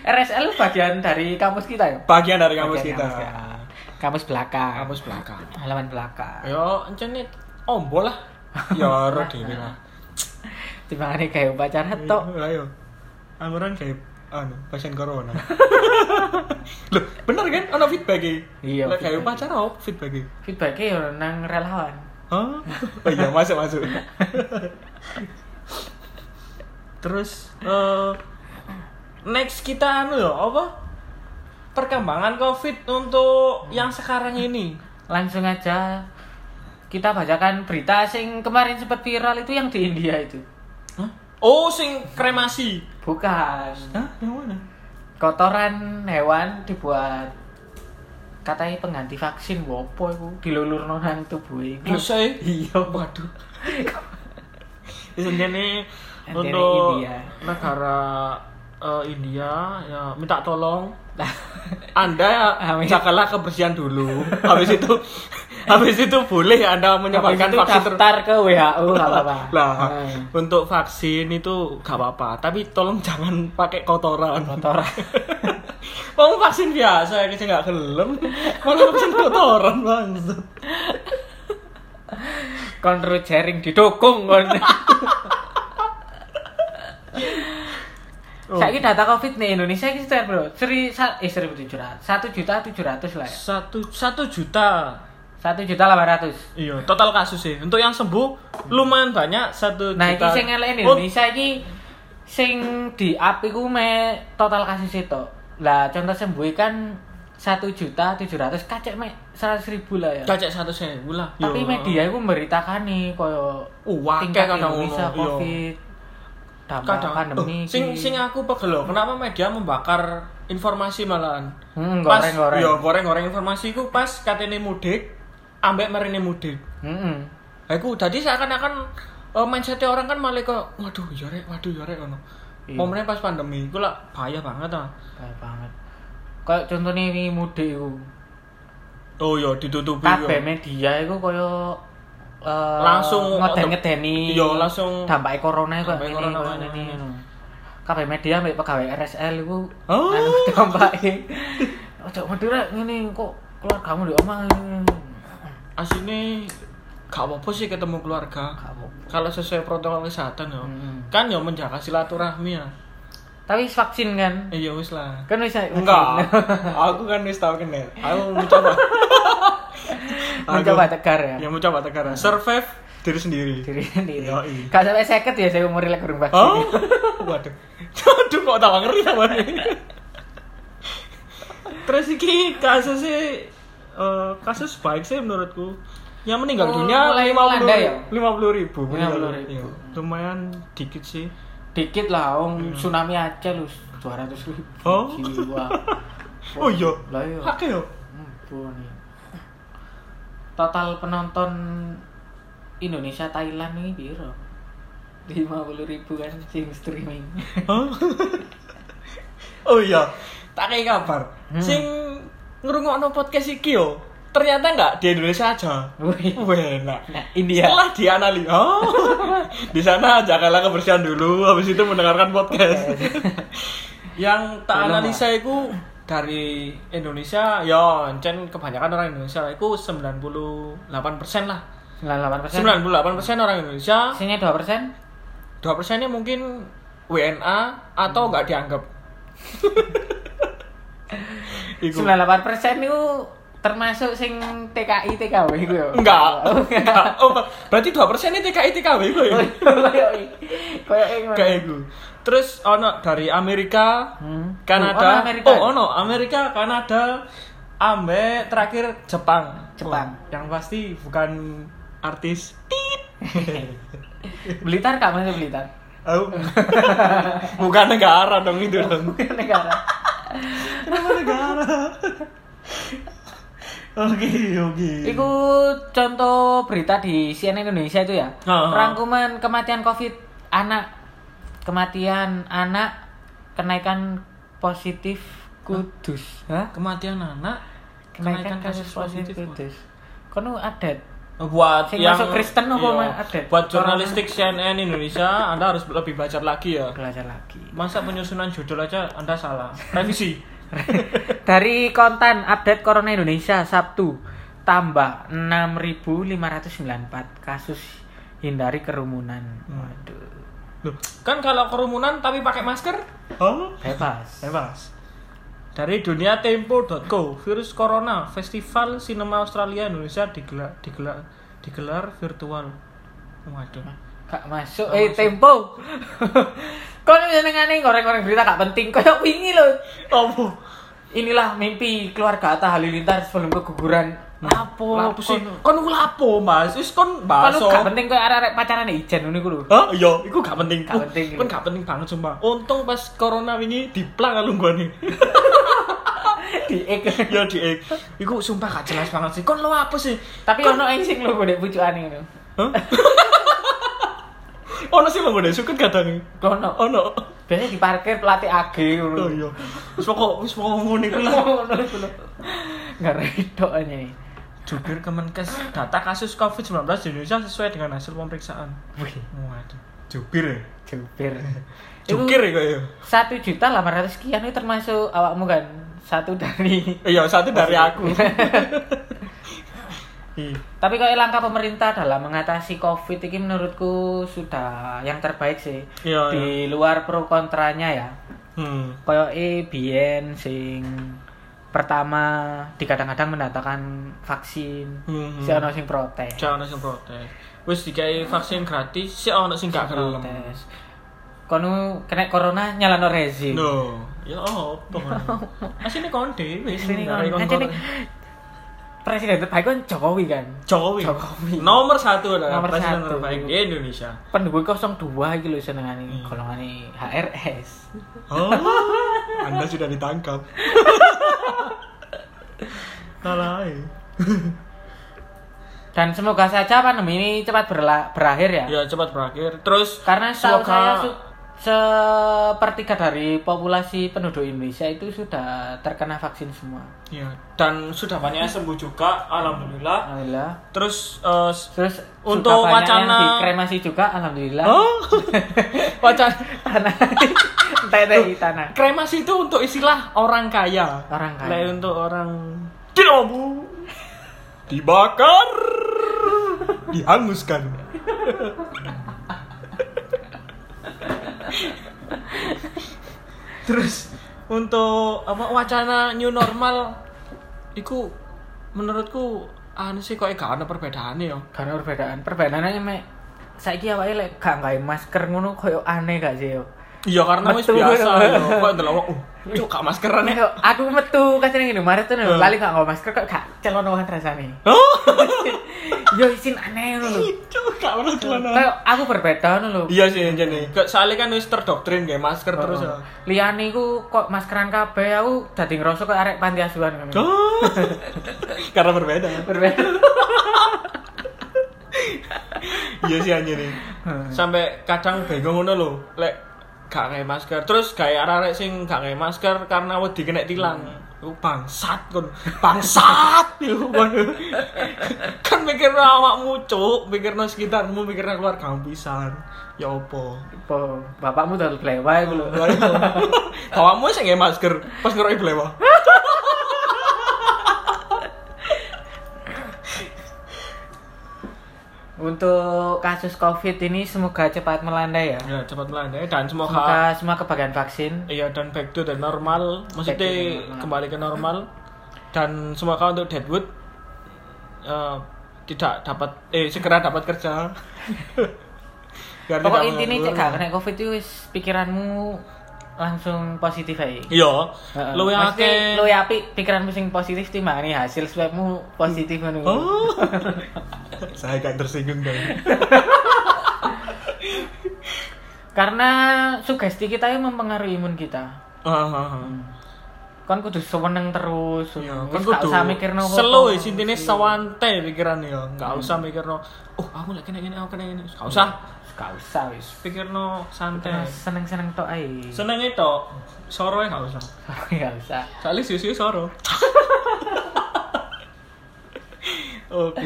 [SPEAKER 1] RSL bagian dari kampus kita ya?
[SPEAKER 2] Bagian dari kampus
[SPEAKER 1] Bagian
[SPEAKER 2] ya. kita.
[SPEAKER 1] kampus kita. Kampus belakang.
[SPEAKER 2] Kampus belakang.
[SPEAKER 1] Halaman belakang.
[SPEAKER 2] Ya, Yo, encen ombo lah. Ya ora dhewe lah.
[SPEAKER 1] Timbangane kayak upacara
[SPEAKER 2] Iya.
[SPEAKER 1] tok.
[SPEAKER 2] Ayo. Angguran kayak anu, pasien corona. Loh, bener kan ono feedback e?
[SPEAKER 1] Iya,
[SPEAKER 2] Lah kayak
[SPEAKER 1] feedback.
[SPEAKER 2] upacara op feedback e.
[SPEAKER 1] Feedbacknya ya nang relawan.
[SPEAKER 2] Hah? Oh iya, masuk masuk. Terus eh, next kita anu ya apa? Perkembangan Covid untuk yang sekarang ini.
[SPEAKER 1] Langsung aja kita bacakan berita sing kemarin sempat viral itu yang di India itu.
[SPEAKER 2] Oh, sing kremasi.
[SPEAKER 1] Bukan.
[SPEAKER 2] Hah? Yang mana?
[SPEAKER 1] Kotoran hewan dibuat katanya pengganti vaksin wopo itu dilulur nang tubuh itu.
[SPEAKER 2] Usai.
[SPEAKER 1] Iya, waduh.
[SPEAKER 2] Ini
[SPEAKER 1] Antara
[SPEAKER 2] untuk
[SPEAKER 1] India.
[SPEAKER 2] negara eh, India ya minta tolong Anda
[SPEAKER 1] Amin.
[SPEAKER 2] jagalah kebersihan dulu. Habis itu habis itu boleh Anda menyebarkan
[SPEAKER 1] Bahkan
[SPEAKER 2] vaksin ter-
[SPEAKER 1] daftar ke WHO nggak apa-apa.
[SPEAKER 2] lah
[SPEAKER 1] Eh,
[SPEAKER 2] untuk vaksin itu gak apa-apa tapi tolong jangan pakai kotoran
[SPEAKER 1] kotoran.
[SPEAKER 2] Wong vaksin biasa ya kita nggak gelem malah vaksin kotoran maksud
[SPEAKER 1] Kon Ruth Jaring didukung kon.
[SPEAKER 2] Oh.
[SPEAKER 1] Saiki data Covid nih Indonesia iki sudah bro. Seri sa- eh 1700. 1 juta 700 lah ya.
[SPEAKER 2] satu satu juta
[SPEAKER 1] 1 juta 800.
[SPEAKER 2] iya total kasus sih untuk yang sembuh lumayan banyak satu
[SPEAKER 1] Nah, iki
[SPEAKER 2] juta
[SPEAKER 1] sing elek
[SPEAKER 2] Oh,
[SPEAKER 1] Indonesia iki sing di up iku me total kasus itu. Lah contoh sembuh kan 1 juta 700 kacek me 100 ribu lah ya.
[SPEAKER 2] cacek satu sewu lah Iya.
[SPEAKER 1] Tapi
[SPEAKER 2] Yo.
[SPEAKER 1] media itu memberitakan nih koyo
[SPEAKER 2] Oh, wakil
[SPEAKER 1] tingkat
[SPEAKER 2] kadang
[SPEAKER 1] Indonesia
[SPEAKER 2] ngono, iya.
[SPEAKER 1] Covid. Dampak
[SPEAKER 2] kadang
[SPEAKER 1] pandemi.
[SPEAKER 2] Oh,
[SPEAKER 1] iki.
[SPEAKER 2] sing sing aku pegel loh kenapa media membakar informasi malahan
[SPEAKER 1] Hmm,
[SPEAKER 2] Pas-
[SPEAKER 1] goreng-goreng.
[SPEAKER 2] iya, goreng-goreng informasi ku pas katene mudik ambek marine mudik
[SPEAKER 1] Heeh.
[SPEAKER 2] Lah iku dadi seakan-akan eh, mindsetnya orang kan malah kok waduh ya rek, waduh ya rek ngono.
[SPEAKER 1] Iya.
[SPEAKER 2] Momennya pas pandemi iku lah bahaya banget ah.
[SPEAKER 1] Bahaya banget. Kayak contohnya ini mudik iku.
[SPEAKER 2] Oh ya ditutupi
[SPEAKER 1] Kabeh
[SPEAKER 2] yo.
[SPEAKER 1] media iku koyo eh,
[SPEAKER 2] Langsung-
[SPEAKER 1] ngeden-ngedeni
[SPEAKER 2] Iya, langsung-
[SPEAKER 1] dampak corona iku
[SPEAKER 2] Dampake
[SPEAKER 1] kayak
[SPEAKER 2] corona
[SPEAKER 1] ngene koyo
[SPEAKER 2] kayak
[SPEAKER 1] ngene.
[SPEAKER 2] ngene.
[SPEAKER 1] ngono. Kabeh media mbek pegawai RSL iku
[SPEAKER 2] Oh.
[SPEAKER 1] anu dampake. Ojo medhur ngene kok keluar kamu di omah.
[SPEAKER 2] Asine gak apa-apa sih ketemu keluarga.
[SPEAKER 1] Gak apa-apa.
[SPEAKER 2] Kalau sesuai protokol kesehatan ya.
[SPEAKER 1] Mm-mm.
[SPEAKER 2] Kan ya menjaga silaturahmi ya.
[SPEAKER 1] Tapi wis vaksin kan?
[SPEAKER 2] Eh, ya wis lah.
[SPEAKER 1] Kan wis vaksin.
[SPEAKER 2] Enggak. aku kan wis tau kena. Aku mencoba. Aku-
[SPEAKER 1] Mencoba tegar ya.
[SPEAKER 2] Ya mencoba tegar. Survive diri sendiri.
[SPEAKER 1] Diri sendiri.
[SPEAKER 2] Yoi.
[SPEAKER 1] Gak sampai seket ya saya umur lek kurang vaksin.
[SPEAKER 2] Oh, waduh. Aduh kok tambah ngeri sama ini. Terus iki kasusnya eh, kasus baik sih menurutku. Yang meninggal
[SPEAKER 1] Oh,
[SPEAKER 2] dunia
[SPEAKER 1] mulai
[SPEAKER 2] lima puluh
[SPEAKER 1] melanda ya?
[SPEAKER 2] ribu.
[SPEAKER 1] 50.000.
[SPEAKER 2] Iya, Lumayan dikit sih.
[SPEAKER 1] dikit lah om tsunami Aceh lu 200 ribu
[SPEAKER 2] Hmm. Oh.
[SPEAKER 1] jiwa
[SPEAKER 2] Oh iya.
[SPEAKER 1] lah iya
[SPEAKER 2] Oke yo.
[SPEAKER 1] Hmm, apa nih? total penonton Indonesia Thailand ini piro? 50 ribu kan sing streaming.
[SPEAKER 2] oh iya, tak kayak kabar.
[SPEAKER 1] Hmm.
[SPEAKER 2] Sing ngerungokno podcast iki yo. Ternyata nggak di Indonesia aja.
[SPEAKER 1] Wih.
[SPEAKER 2] Wih, enak.
[SPEAKER 1] Nah, India.
[SPEAKER 2] Setelah dianalisa, oh, di sana jagalah kebersihan dulu, habis itu mendengarkan podcast. Yang tak
[SPEAKER 1] Belum,
[SPEAKER 2] analisa itu dari Indonesia, ya encen kebanyakan orang Indonesia itu 98% lah.
[SPEAKER 1] 98%.
[SPEAKER 2] 98% orang Indonesia,
[SPEAKER 1] Sini 2%.
[SPEAKER 2] 2% nya mungkin WNA atau nggak dianggap. Iku.
[SPEAKER 1] 98% itu termasuk sing TKI TKW iku ya.
[SPEAKER 2] Enggak. Enggak. Oh, berarti 2% ini TKI TKW gue.
[SPEAKER 1] Oh,
[SPEAKER 2] ya?
[SPEAKER 1] Kayak kayak ngono.
[SPEAKER 2] Kayak gue. Terus ono dari Amerika,
[SPEAKER 1] Hmm. Oh,
[SPEAKER 2] Kanada.
[SPEAKER 1] ono Amerika.
[SPEAKER 2] Oh, ono Amerika, Kanada, ambe terakhir Jepang.
[SPEAKER 1] Jepang.
[SPEAKER 2] Wah, yang pasti bukan artis. Tit.
[SPEAKER 1] Blitar gak masuk Blitar.
[SPEAKER 2] Oh. bukan negara dong itu dong.
[SPEAKER 1] Bukan negara.
[SPEAKER 2] Kenapa negara? Oke, oke.
[SPEAKER 1] Iku contoh berita di CNN Indonesia itu ya.
[SPEAKER 2] Ha, ha.
[SPEAKER 1] Rangkuman kematian COVID anak, kematian anak, kenaikan positif Kudus. Hah?
[SPEAKER 2] Kematian anak
[SPEAKER 1] Kenaikan, kasus positif Kudus. Kono adat.
[SPEAKER 2] Oh, buat
[SPEAKER 1] Sing
[SPEAKER 2] yang
[SPEAKER 1] masuk Kristen apa
[SPEAKER 2] Iya.
[SPEAKER 1] mah ada?
[SPEAKER 2] buat jurnalistik CNN Indonesia Anda harus lebih belajar lagi ya
[SPEAKER 1] Belajar lagi.
[SPEAKER 2] masa penyusunan judul aja Anda salah revisi
[SPEAKER 1] Dari konten update Corona Indonesia Sabtu tambah 6.594 kasus hindari kerumunan. Waduh.
[SPEAKER 2] Loh, kan kalau kerumunan tapi pakai masker oh
[SPEAKER 1] Bebas.
[SPEAKER 2] bebas dari dunia tempo.co virus corona festival sinema Australia Indonesia digelar digelar digelar virtual waduh
[SPEAKER 1] Gak masuk. Eh tempo. Kon jenengane goreng-goreng berita gak penting koyo wingi lho.
[SPEAKER 2] oh
[SPEAKER 1] Inilah mimpi keluarga Atta Halilintar sebelum keguguran. Lapo?
[SPEAKER 2] lapo sih kon ku lapo mas wis kon
[SPEAKER 1] Kan
[SPEAKER 2] baso
[SPEAKER 1] Oh, gak penting koyo arek-arek pacaran Ijen ngono iku lho.
[SPEAKER 2] Hah? Iya, itu gak penting.
[SPEAKER 1] Gak penting.
[SPEAKER 2] Kan gak penting banget sumpah. Untung pas corona wingi diplang kan lungguhane.
[SPEAKER 1] Di ek.
[SPEAKER 2] ya diek. Iku sumpah gak jelas banget sih. Kon lo apa sih?
[SPEAKER 1] Tapi ono yang sing lho golek pucukane ngono.
[SPEAKER 2] Hah? ono sih mau gue suket kadang.
[SPEAKER 1] Ono.
[SPEAKER 2] Ono.
[SPEAKER 1] Biasanya di parkir pelatih AG ngono.
[SPEAKER 2] Oh iya. Wis pokok wis pokok ngono iku lah.
[SPEAKER 1] Ngono iku lho. Gak redo anjay.
[SPEAKER 2] Jubir Kemenkes data kasus COVID-19 di Indonesia sesuai dengan hasil pemeriksaan.
[SPEAKER 1] Wih,
[SPEAKER 2] Waduh. Jubir ya?
[SPEAKER 1] jubir. Iku
[SPEAKER 2] Jubir ya kayaknya.
[SPEAKER 1] 1 juta 800 sekian itu termasuk awakmu kan? Satu dari
[SPEAKER 2] Iya, satu dari aku. Iya.
[SPEAKER 1] Tapi kalau langkah pemerintah dalam mengatasi COVID ini menurutku sudah yang terbaik sih.
[SPEAKER 2] Iya,
[SPEAKER 1] Di luar pro kontranya ya.
[SPEAKER 2] Hmm.
[SPEAKER 1] Koyo e biyen sing pertama dikadang-kadang mendatangkan vaksin.
[SPEAKER 2] Hmm.
[SPEAKER 1] Si ono sing protes.
[SPEAKER 2] Jangan sing protes. Wis dikai vaksin gratis, sih ono sing gak gelem.
[SPEAKER 1] Protes. Kono kena corona nyalano rezim.
[SPEAKER 2] No, ya opo ngono. Asine kon dhewe
[SPEAKER 1] Sini
[SPEAKER 2] sing
[SPEAKER 1] kan.
[SPEAKER 2] nggarai kon
[SPEAKER 1] Jadi,
[SPEAKER 2] corona.
[SPEAKER 1] Presiden terbaik kan Jokowi kan.
[SPEAKER 2] Jokowi.
[SPEAKER 1] Jokowi.
[SPEAKER 2] Nomor satu adalah
[SPEAKER 1] Nomor
[SPEAKER 2] presiden
[SPEAKER 1] satu.
[SPEAKER 2] terbaik di Indonesia.
[SPEAKER 1] Pendukung 02 iki lho senengane E,
[SPEAKER 2] Iya.
[SPEAKER 1] golongane HRS.
[SPEAKER 2] Oh, Anda sudah ditangkap. Lalai.
[SPEAKER 1] Dan semoga saja pandemi ini cepat berla- berakhir ya.
[SPEAKER 2] Ya cepat berakhir. Terus
[SPEAKER 1] Karena setahu
[SPEAKER 2] semoga-
[SPEAKER 1] saya su- sepertiga dari populasi penduduk Indonesia itu sudah terkena vaksin semua.
[SPEAKER 2] ya dan sudah banyak yang sembuh juga, alhamdulillah.
[SPEAKER 1] Alhamdulillah.
[SPEAKER 2] Terus eh,
[SPEAKER 1] Terus
[SPEAKER 2] Untuk
[SPEAKER 1] sudah banyak yang
[SPEAKER 2] wacana-
[SPEAKER 1] dikremasi juga, alhamdulillah.
[SPEAKER 2] Oh, wacana
[SPEAKER 1] Tanah, TNI tanah.
[SPEAKER 2] kremasi itu untuk istilah orang kaya.
[SPEAKER 1] Orang kaya.
[SPEAKER 2] Lah, untuk orang tidak mampu dibakar, dihanguskan. Terus untuk apa wacana new normal iku menurutku anu sih kok gak ada perbedaannya ya.
[SPEAKER 1] Karena perbedaan, perbedaannya mek saiki awake lek gak nggawe masker ngono koyo aneh gak sih yo.
[SPEAKER 2] Iya karena wis
[SPEAKER 1] Betul.
[SPEAKER 2] biasa ya. Kok ndelok oh, cuk gak maskeran ya.
[SPEAKER 1] Nek aku metu kacane ngene mari tuh
[SPEAKER 2] Eh.
[SPEAKER 1] lali gak nggawe masker kok gak celonoan rasane.
[SPEAKER 2] Oh,
[SPEAKER 1] Yo isin aneh ngono lho.
[SPEAKER 2] cuk gak ono celana.
[SPEAKER 1] Kayak aku berbeda ngono lho.
[SPEAKER 2] Iya sih jadi Ke- Iya. soalnya kan wis terdoktrin kayak masker terus ya.
[SPEAKER 1] Oh. Liyane iku kok maskeran kabeh aku dadi ngerasa kok arek panti asuhan ngono.
[SPEAKER 2] Oh. Karena berbeda.
[SPEAKER 1] Berbeda.
[SPEAKER 2] iya sih anjir nih sampai kadang bego ngono lho lek gak kayak masker terus kayak arek sing gak kayak masker karena wedi kena tilang Lu bangsat kon bangsat Lu, waduh. kan mikir awakmu cuk mikir sekitarmu mikir keluargamu pisan ya opo
[SPEAKER 1] Po, bapakmu udah kelewat lho.
[SPEAKER 2] iya. awakmu sing nggak masker pas ngeroki blewa
[SPEAKER 1] Untuk kasus Covid ini semoga cepat melandai ya.
[SPEAKER 2] ya cepat melandai dan semoga
[SPEAKER 1] Semoga semua kebagian vaksin.
[SPEAKER 2] Iya dan back to the normal,
[SPEAKER 1] Back to the
[SPEAKER 2] maksudnya
[SPEAKER 1] normal.
[SPEAKER 2] kembali ke normal dan semoga untuk Deadwood eh, tidak dapat eh segera dapat kerja. Biar
[SPEAKER 1] Pokok
[SPEAKER 2] tidak
[SPEAKER 1] intinya
[SPEAKER 2] mengganggu
[SPEAKER 1] cek gak
[SPEAKER 2] orang.
[SPEAKER 1] kena Covid itu wis pikiranmu langsung positif aja.
[SPEAKER 2] Iya,
[SPEAKER 1] Heeh.
[SPEAKER 2] lu yang
[SPEAKER 1] Maksudnya,
[SPEAKER 2] akeh-
[SPEAKER 1] luwih apik pikiranmu sing positif timbangane hasil swabmu positif ngono.
[SPEAKER 2] Oh. Saya kan tersinggung dong.
[SPEAKER 1] Karena sugesti kita yang mempengaruhi imun kita. Kon Kan kudu seweneng terus.
[SPEAKER 2] Iya,
[SPEAKER 1] ngono.
[SPEAKER 2] kan
[SPEAKER 1] Hmm. Wis gak
[SPEAKER 2] kudu ya,
[SPEAKER 1] usah mikirno apa-apa. Iya. Hmm.
[SPEAKER 2] slow sih intine sawante pikiran ya, enggak usah mikirno, oh aku lagi kena ini, aku kena ini. Enggak usah
[SPEAKER 1] Gak usah wis.
[SPEAKER 2] pikirno santai.
[SPEAKER 1] Seneng-seneng tok ae. Oh,
[SPEAKER 2] Seneng itu, sore enggak usah.
[SPEAKER 1] Gak usah.
[SPEAKER 2] Soalnya siu-siu soro. Oke.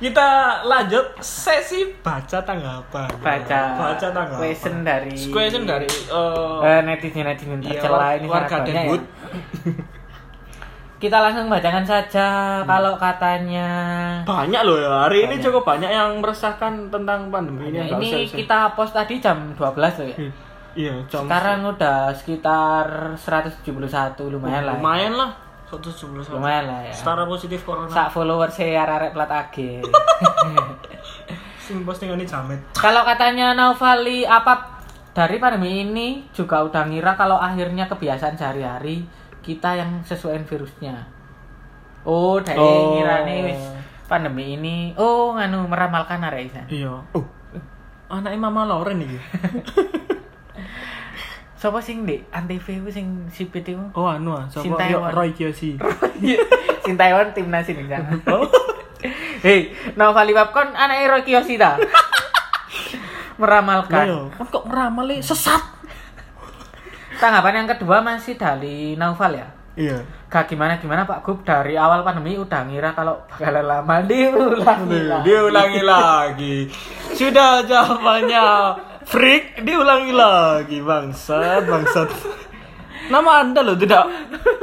[SPEAKER 2] Kita lanjut sesi baca tanggapan.
[SPEAKER 1] Baca.
[SPEAKER 2] baca tanggapan.
[SPEAKER 1] Question dari
[SPEAKER 2] Question dari eh
[SPEAKER 1] Eh,
[SPEAKER 2] iya,
[SPEAKER 1] netizen-netizen tercela ini
[SPEAKER 2] warga
[SPEAKER 1] sangat banyak ya.
[SPEAKER 2] Deadwood.
[SPEAKER 1] Kita langsung bacakan saja
[SPEAKER 2] Hmm.
[SPEAKER 1] kalau katanya
[SPEAKER 2] Banyak loh ya. Hari ini cukup banyak yang meresahkan tentang pandemi
[SPEAKER 1] Ya,
[SPEAKER 2] ini. Nggak
[SPEAKER 1] ini
[SPEAKER 2] usah-
[SPEAKER 1] kita post tadi jam 12 loh ya.
[SPEAKER 2] Hmm. Iya, jam
[SPEAKER 1] Sekarang udah sekitar 171 lumayan lah. ya.
[SPEAKER 2] lumayan lah. 111.
[SPEAKER 1] Lumayan lah ya.
[SPEAKER 2] Setara positif corona.
[SPEAKER 1] Sak follower saya arek plat AG.
[SPEAKER 2] Sing posting ini jamet.
[SPEAKER 1] kalau katanya Naufali apa dari pandemi ini juga udah ngira kalau akhirnya kebiasaan sehari-hari kita yang sesuaiin virusnya. Oh, dari
[SPEAKER 2] Oh.
[SPEAKER 1] ngira nih wis pandemi ini oh nganu meramalkan arek Isan.
[SPEAKER 2] Iya. Oh. Anaknya Mama Lauren iki.
[SPEAKER 1] Sopo sing Dik? Antv ku sing sipit iku.
[SPEAKER 2] Oh anu ah, sapa
[SPEAKER 1] Shin
[SPEAKER 2] Yo,
[SPEAKER 1] Tae-won.
[SPEAKER 2] Roy Kiyoshi.
[SPEAKER 1] Sintaiwan timnas ini jangan. Hei, Novali Babkon anak Roy Kiyoshi ta? Meramalkan.
[SPEAKER 2] Kan kok meramal sesat.
[SPEAKER 1] Tanggapan yang kedua masih dari Naufal ya.
[SPEAKER 2] Iya.
[SPEAKER 1] Kak gimana gimana Pak Gub dari awal pandemi udah ngira kalau bakalan lama Nah, diulangi lah.
[SPEAKER 2] Dia ulangi lagi. Sudah jawabannya. Freak, diulangi lagi bangsat, bangsat. Nama Anda loh tidak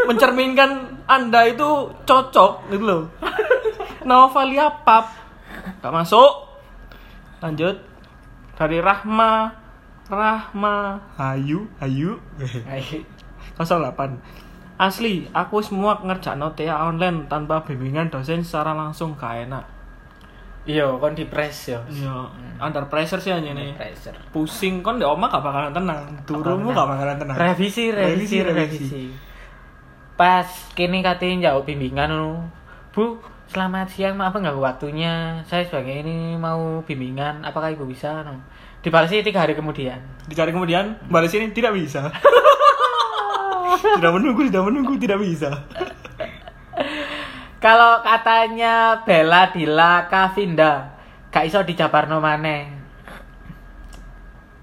[SPEAKER 2] mencerminkan Anda itu cocok gitu loh. Novalia Pap. Gak masuk. Lanjut. Dari Rahma Rahma Ayu Ayu.
[SPEAKER 1] Hai.
[SPEAKER 2] 08 Asli, aku semua ngerjakno TA online tanpa bimbingan dosen secara langsung gak enak.
[SPEAKER 1] Iya, kon di press yo.
[SPEAKER 2] Iya, under pressure sih aja nih.
[SPEAKER 1] Pressure.
[SPEAKER 2] Pusing kon di oma gak bakalan tenang, turunmu gak bakalan tenang.
[SPEAKER 1] Revisi, revisi,
[SPEAKER 2] Nah, Revisi, revisi.
[SPEAKER 1] revisi. Pas kini katanya jauh bimbingan nu. Bu, selamat siang, maaf mengganggu waktunya. Saya sebagai ini mau bimbingan, apakah ibu bisa? Nu. Dibalasi tiga hari kemudian.
[SPEAKER 2] Dicari kemudian, balas ini tidak bisa. tidak menunggu, tidak menunggu, tidak bisa.
[SPEAKER 1] Kalau katanya Bella Dila Kavinda, gak iso dijabarno maneh.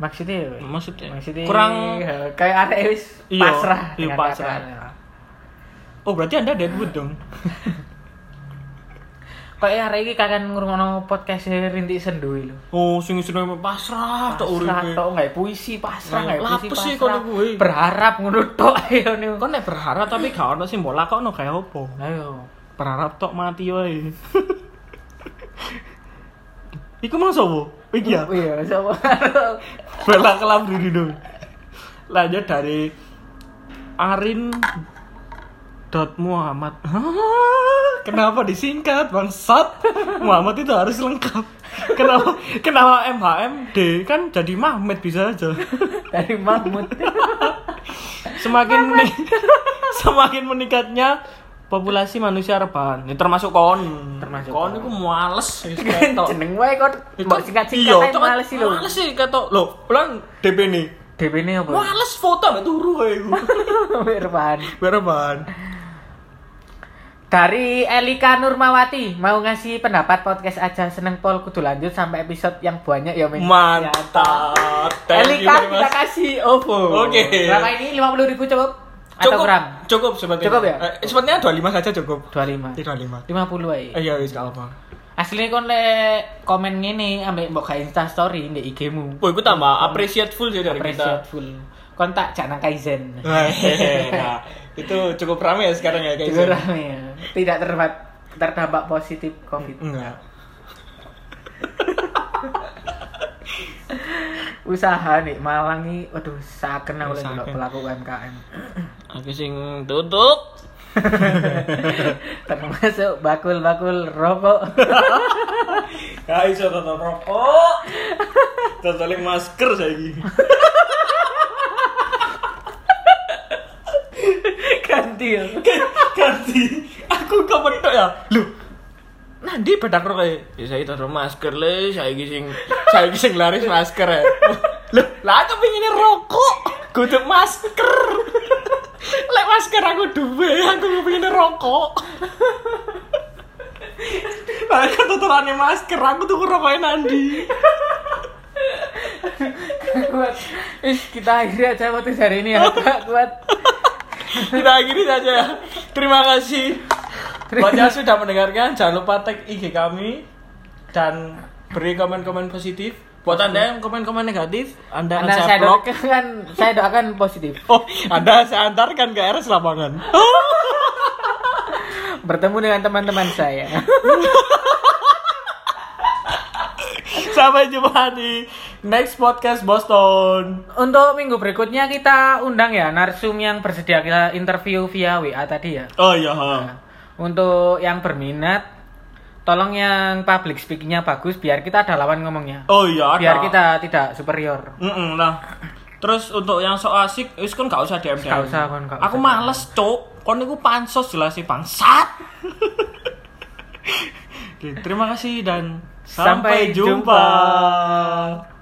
[SPEAKER 1] Maksudnya,
[SPEAKER 2] Maksudnya,
[SPEAKER 1] maksudnya ya,
[SPEAKER 2] kurang
[SPEAKER 1] kayak arek wis
[SPEAKER 2] Iya,
[SPEAKER 1] pasrah
[SPEAKER 2] iya,
[SPEAKER 1] dengan
[SPEAKER 2] pasrah.
[SPEAKER 1] keadaannya.
[SPEAKER 2] Oh, berarti Anda deadwood dong.
[SPEAKER 1] Kayak arek iki kangen ngrungokno podcast e Rintik Sendu lho.
[SPEAKER 2] Oh, sing isine pasrah tok
[SPEAKER 1] pasrah
[SPEAKER 2] uripe.
[SPEAKER 1] tok nggak puisi pasrah
[SPEAKER 2] e. Nah,
[SPEAKER 1] nggak puisi
[SPEAKER 2] lapes sih
[SPEAKER 1] pasrah
[SPEAKER 2] kono kuwi.
[SPEAKER 1] berharap ngono tok ayo nih
[SPEAKER 2] Kon nek berharap tapi gak ono sing mbok lakokno kaya opo?
[SPEAKER 1] ayo
[SPEAKER 2] berharap tok mati wae. Iku mau sopo? Iki ya.
[SPEAKER 1] iya siapa
[SPEAKER 2] Bela kelam diri dong. Lanjut dari Arin dot Muhammad. Hah? Kenapa disingkat bangsat? Muhammad itu harus lengkap. Kenapa? Kenapa MHMD kan jadi Mahmed bisa aja.
[SPEAKER 1] dari Mahmud
[SPEAKER 2] Semakin meni- semakin meningkatnya populasi manusia rebahan. Ini termasuk kon.
[SPEAKER 1] Termasuk
[SPEAKER 2] kon.
[SPEAKER 1] kon.
[SPEAKER 2] iku males wis ketok.
[SPEAKER 1] jeneng wae kok mbok singkat
[SPEAKER 2] Iya,
[SPEAKER 1] singkat ae
[SPEAKER 2] cok,
[SPEAKER 1] males sih lho
[SPEAKER 2] Males sih ketok. Lho, ulang DP ini.
[SPEAKER 1] DP ini apa
[SPEAKER 2] Males foto mek turu ae iku.
[SPEAKER 1] Irfan
[SPEAKER 2] Bereban.
[SPEAKER 1] Dari Elika Nurmawati mau ngasih pendapat podcast aja seneng pol kudu lanjut sampai episode yang banyak ya men.
[SPEAKER 2] Mantap. iya, Thank you
[SPEAKER 1] Elika
[SPEAKER 2] very much.
[SPEAKER 1] kita kasih OVO.
[SPEAKER 2] Oke.
[SPEAKER 1] Berapa ini? 50 ribu cukup? Atau
[SPEAKER 2] Cukup,
[SPEAKER 1] kurang?
[SPEAKER 2] cukup Iya, sepertinya.
[SPEAKER 1] Cukup ya?
[SPEAKER 2] Eh, sepertinya 25 saja cukup.
[SPEAKER 1] 25.
[SPEAKER 2] 25.
[SPEAKER 1] 50 ae.
[SPEAKER 2] Eh, iya, wis gak apa.
[SPEAKER 1] Aslinya kon lek komen ngene ambek mbok gawe Insta story ndek IG-mu.
[SPEAKER 2] Woi, gue tambah appreciate full sih dari
[SPEAKER 1] Appreciate
[SPEAKER 2] kita.
[SPEAKER 1] full. Kon tak jak nang Kaizen.
[SPEAKER 2] Hehehe, nah, itu cukup rame ya sekarang ya guys.
[SPEAKER 1] Juga rame ya. Tidak terdapat terdampak positif Covid.
[SPEAKER 2] Enggak.
[SPEAKER 1] Usaha nih Malang iki waduh saken aku lek
[SPEAKER 2] Saken.
[SPEAKER 1] ndelok pelaku UMKM.
[SPEAKER 2] Aku sing tutup.
[SPEAKER 1] Termasuk bakul-bakul rokok.
[SPEAKER 2] Ya iso tutup rokok. Tersalin masker saiki.
[SPEAKER 1] Ganti. ya.
[SPEAKER 2] Ganti. Aku kok petok ya. Lu. Nanti bedak rokok ya. saya taruh masker le, saiki sing saiki sing laris masker ya. Lu, lah aku pengen rokok. Kudu masker. Lek masker aku duwe, aku pengen rokok. Lah aku tuturane masker, aku tuku rokoknya nanti.
[SPEAKER 1] kuat. Ih, kita akhiri aja podcast hari ini ya. Gak kuat.
[SPEAKER 2] Kita akhiri saja ya. Terima kasih. Buat yang sudah mendengarkan, jangan lupa tag IG kami dan beri komen-komen positif. Buat anda yang komen-komen negatif, anda,
[SPEAKER 1] Anda
[SPEAKER 2] akan saya
[SPEAKER 1] Nah, saya
[SPEAKER 2] blok.
[SPEAKER 1] doakan, saya doakan positif.
[SPEAKER 2] Oh, anda saya antarkan ke RS lapangan.
[SPEAKER 1] Bertemu dengan teman-teman saya.
[SPEAKER 2] Sampai jumpa di next podcast Boston.
[SPEAKER 1] Untuk minggu berikutnya kita undang ya narsum yang bersedia kita interview via WA tadi ya.
[SPEAKER 2] Oh iya.
[SPEAKER 1] Untuk yang berminat, tolong yang public speakingnya bagus biar kita ada lawan ngomongnya.
[SPEAKER 2] Oh iya. ada.
[SPEAKER 1] Biar kita tidak superior.
[SPEAKER 2] Mm-mm, lah. Terus untuk yang so asik, wis kan gak usah DM.
[SPEAKER 1] Gak usah kon, gak
[SPEAKER 2] Aku
[SPEAKER 1] usah.
[SPEAKER 2] males, Cuk. Kon niku pansos jelas sih bangsat. Oke, terima kasih dan sampai,
[SPEAKER 1] Sampai
[SPEAKER 2] jumpa.
[SPEAKER 1] jumpa.